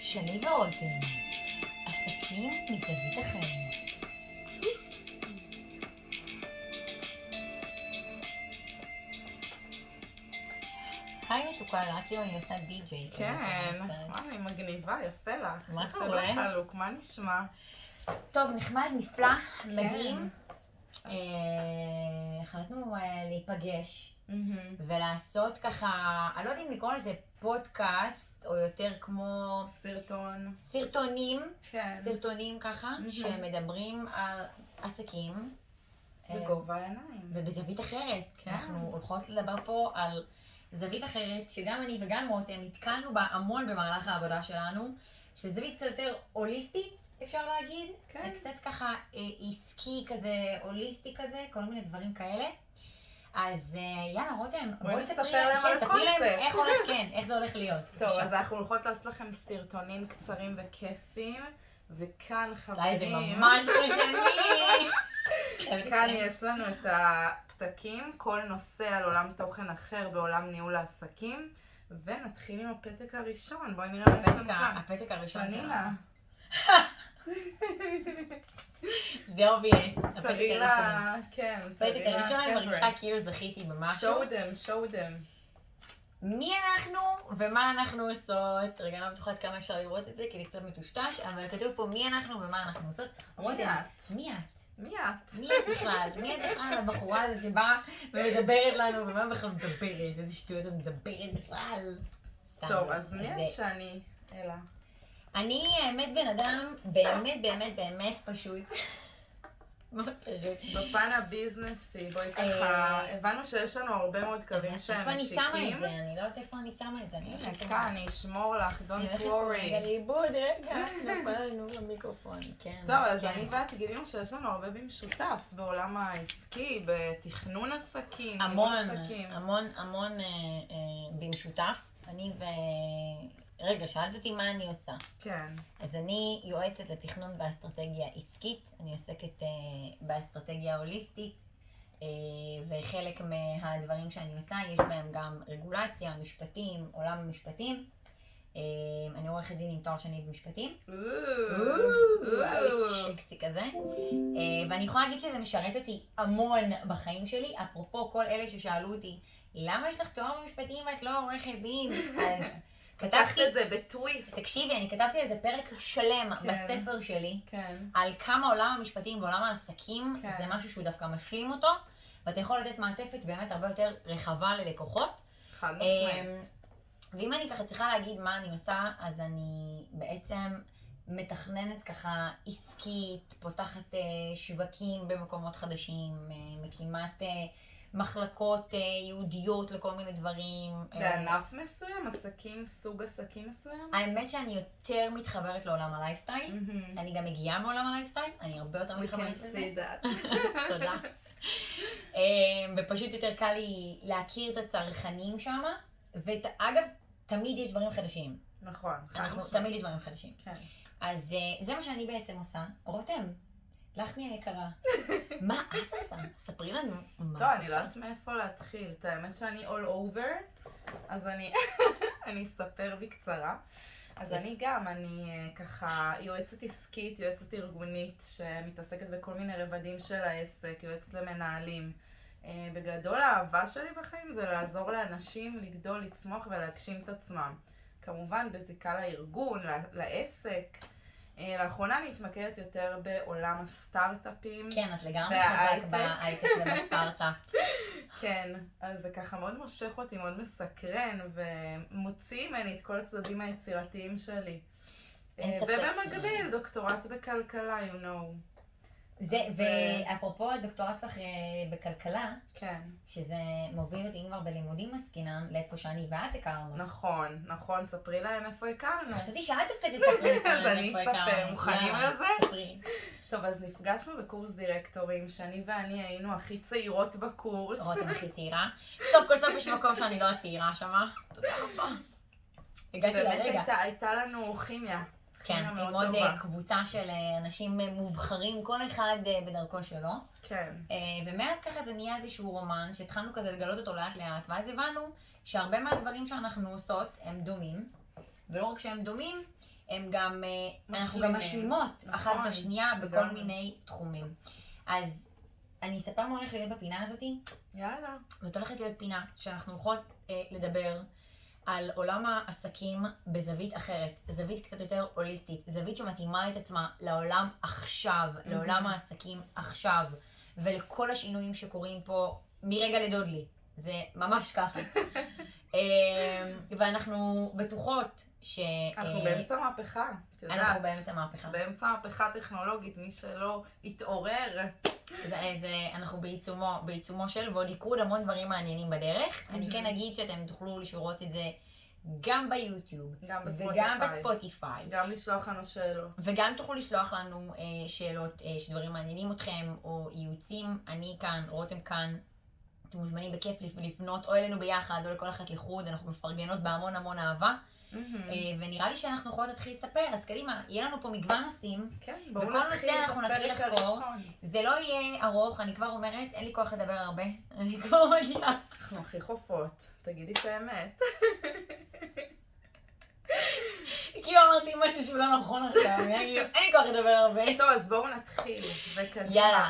שני ואוזן, עסקים מזווית החיים. היי מתוקה, רק אם אני לא עושה די-ג'יי. כן, וואי, מגניבה, יפה לך. אוקיי. מה איך קורה? שלא חלוק, מה נשמע? טוב, נחמד, נפלא, כן. מדהים. אה, החלטנו אה, להיפגש מהמם. ולעשות ככה, אני לא יודעת אם לקרוא לזה פודקאסט, או יותר כמו סרטון. סרטונים, כן. סרטונים ככה, מהמם. שמדברים על עסקים. אה, בגובה העיניים. ובזווית אחרת. כן. אנחנו הולכות לדבר פה על זווית אחרת, שגם אני וגם רותם נתקלנו בה המון במהלך העבודה שלנו, שזווית קצת יותר הוליסטית, אפשר להגיד. כן. קצת ככה אה, עסקי כזה, הוליסטי כזה, כל מיני דברים כאלה. אז אה, יאללה, רותם, בואי בואי נספר תספרי להם להם, כן, על תספרי להם הקונספט. איך הולך, כן, איך זה הולך להיות. טוב, בבקשה. אז אנחנו הולכות לעשות לכם סרטונים קצרים וכיפיים, וכאן עשה את זה חברים, ממש לא כן, ראשוני. כאן יש לנו את הפתקים, כל נושא על עולם תוכן אחר בעולם ניהול העסקים, ונתחיל עם הפתק הראשון, בואי נראה מה יש לנו הפתק ה- כאן. הפתק הראשון שלנו. שנינה, זה אובייס, הפתק תראי הראשון. לה, כן, הפתק תראי לה, הראשון אני חבר'ה. מרגישה כאילו זכיתי במשהו. show them, show them. מי אנחנו ומה אנחנו עושות? רגע, אני לא בטוחה עד כמה אפשר לראות את זה, כי זה קצת מטושטש, אבל כתוב פה מי אנחנו ומה אנחנו עושות. רותם, את? מי את? מי את? מי את בכלל? מי את בכלל הבחורה הזאת שבאה ומדברת לנו, ומה בכלל מדברת? איזה שטויות את מדברת בכלל? סתם, טוב, לא. אז מי זה- את שאני? אלה. אני האמת בן אדם באמת באמת באמת פשוט. מאוד פשוט. בפן הביזנסי, בואי ככה, אה, הבנו שיש לנו הרבה מאוד קווים שהם איפה אני שמה משיקים. את זה? אני לא יודעת איפה אני שמה את זה. אני הולכת הנה, כאן, אני אשמור לך, אני don't הולכת פה רגע worry. לאיבוד, רגע, נפל לנו למיקרופון, כן. כן. טוב, אז כן. אני ואת גילינו שיש לנו הרבה במשותף בעולם העסקי, בתכנון עסקים, המון, ניהול עסקים. המון, המון אה, אה, במשותף. אני ו... רגע, שאלת אותי מה אני עושה. כן. אז אני יועצת לתכנון ואסטרטגיה עסקית, אני עוסקת אה, באסטרטגיה הוליסטית, אה, וחלק מהדברים שאני עושה, יש בהם גם רגולציה, משפטים, עולם המשפטים. אה, אני עורכת דין עם תואר שני במשפטים. שקסי כזה. אה, ואני יכולה להגיד שזה משרת אותי המון בחיים שלי, אפרופו כל אלה ששאלו אותי, למה יש לך תואר במשפטים ואת לא עורכת דין? אז פתחת כתבתי, את זה בטוויסט. תקשיבי, אני כתבתי על זה פרק שלם כן. בספר שלי, כן. על כמה עולם המשפטים ועולם העסקים כן. זה משהו שהוא דווקא משלים אותו, ואתה יכול לתת מעטפת באמת הרבה יותר רחבה ללקוחות. חד משמעית. אמ, ואם אני ככה צריכה להגיד מה אני עושה, אז אני בעצם מתכננת ככה עסקית, פותחת אה, שווקים במקומות חדשים, אה, מקימת אה, מחלקות אה, ייעודיות לכל מיני דברים. אה, בענף מסוים, עסקים, סוג עסקים מסוים? האמת שאני יותר מתחברת לעולם הלייפסטייל. מהמם. אני לא גם מגיעה מעולם הלייפסטייל, אני הרבה יותר We can מתחברת לזה. see that. תודה. אמ, ופשוט יותר קל לי להכיר את הצרכנים שם, ואגב, תמיד יש דברים חדשים. נכון, חד אנחנו, משמעית. תמיד יש דברים חדשים. כן. אז אה, זה מה שאני בעצם עושה. רותם, לחמי היקרה, מה את עושה? ספרי לנו. מה טוב, את אני לא יודעת מאיפה להתחיל. את האמת שאני all over, אז אני אני אספר בקצרה. אז אני גם, אני אה, ככה יועצת עסקית, יועצת ארגונית, שמתעסקת בכל מיני רבדים של העסק, יועצת למנהלים. אה, בגדול, האהבה שלי בחיים זה לעזור לאנשים לגדול, לצמוח ולהגשים את עצמם. כמובן, בזיקה לארגון, ל- לעסק. אה, לאחרונה אני מתמקדת יותר בעולם הסטארט-אפים. כן, את לגמרי וההייטק. חזק בהייטק ובסטארט-אפ. כן, אז זה ככה מאוד מושך אותי, מאוד מסקרן, ומוציא ממני את כל הצדדים היצירתיים שלי. אין אה, ספק ובמקביל, דוקטורט בכלכלה, you know. זה- ו- ואפרופו הדוקטורט שלך אה, בכלכלה, כן. שזה מוביל אותי, אם כבר בלימודים עסקינן, לאיפה שאני ואת הכרנו. נכון, נכון, ספרי להם איפה הכרנו. לא, חשבתי שאת דווקא תספרי לי לא, אז אני איפה אספר, הכרנו. מוכנים יאללה, לזה? ספרי. טוב, אז נפגשנו בקורס דירקטורים, שאני ואני היינו הכי צעירות בקורס. רותם הכי צעירה. סוף כל סוף יש מקום שאני לא הצעירה שמה. תודה רבה. הגעתי באמת לרגע. הייתה- הייתה לנו כימיה. כן, כימיה עם מאוד עוד טובה. אה, קבוצה של אה, אנשים אה, מובחרים, כל אחד אה, בדרכו שלו. כן. אה, ומאז ככה זה נהיה איזשהו רומן, שהתחלנו כזה לגלות אותו לאט לאט, ואז הבנו שהרבה מהדברים שאנחנו עושות הם דומים, ולא רק שהם דומים, הם גם, אה, אנחנו גם משלימים. משלימות אחת את נכון, השנייה בכל לגמרי. מיני תחומים. אז אני אספר מה הולך להיות בפינה הזאתי. יאללה. זאת הולכת להיות פינה שאנחנו הולכות אה, לדבר על עולם העסקים בזווית אחרת, זווית קצת יותר הוליסטית, זווית שמתאימה את עצמה לעולם עכשיו, Mhm. לעולם העסקים עכשיו, ולכל השינויים שקורים פה מרגע לדודלי. זה ממש ככה. אה, ואנחנו בטוחות ש... אנחנו אה, באמצע מהפכה, את יודעת. אנחנו באמצע מהפכה. באמצע מהפכה טכנולוגית, מי שלא התעורר. זה- זה- אנחנו בעיצומו, בעיצומו של, ועוד יקרו עוד המון דברים מעניינים בדרך. אני כן Mhm. אגיד שאתם תוכלו לראות את זה גם ביוטיוב, גם בספוטיפיי. וגם בספוטיפיי, גם לשלוח לנו שאלות. וגם תוכלו לשלוח לנו אה, שאלות, אה, שדברים מעניינים אתכם, או ייעוצים. אני כאן, רותם כאן. אתם מוזמנים בכיף לפ- לפנות או אלינו ביחד, או לכל אחת לחוד, אנחנו מפרגנות בהמון המון אהבה. מהמם. אה, ונראה לי שאנחנו יכולות להתחיל לספר, אז קדימה, יהיה לנו פה מגוון נושאים. כן, בכל נושא אנחנו נתחיל בפרק לחקור. הראשון. זה לא יהיה ארוך, אני כבר אומרת, אין לי כוח לדבר הרבה. אני כבר מגיעה. אנחנו הכי חופות, תגידי את האמת. כאילו אמרתי משהו שהוא לא נכון עכשיו, אני אגיד, אין לי כוח לדבר הרבה. טוב, אז בואו נתחיל. וקדימה. יאללה,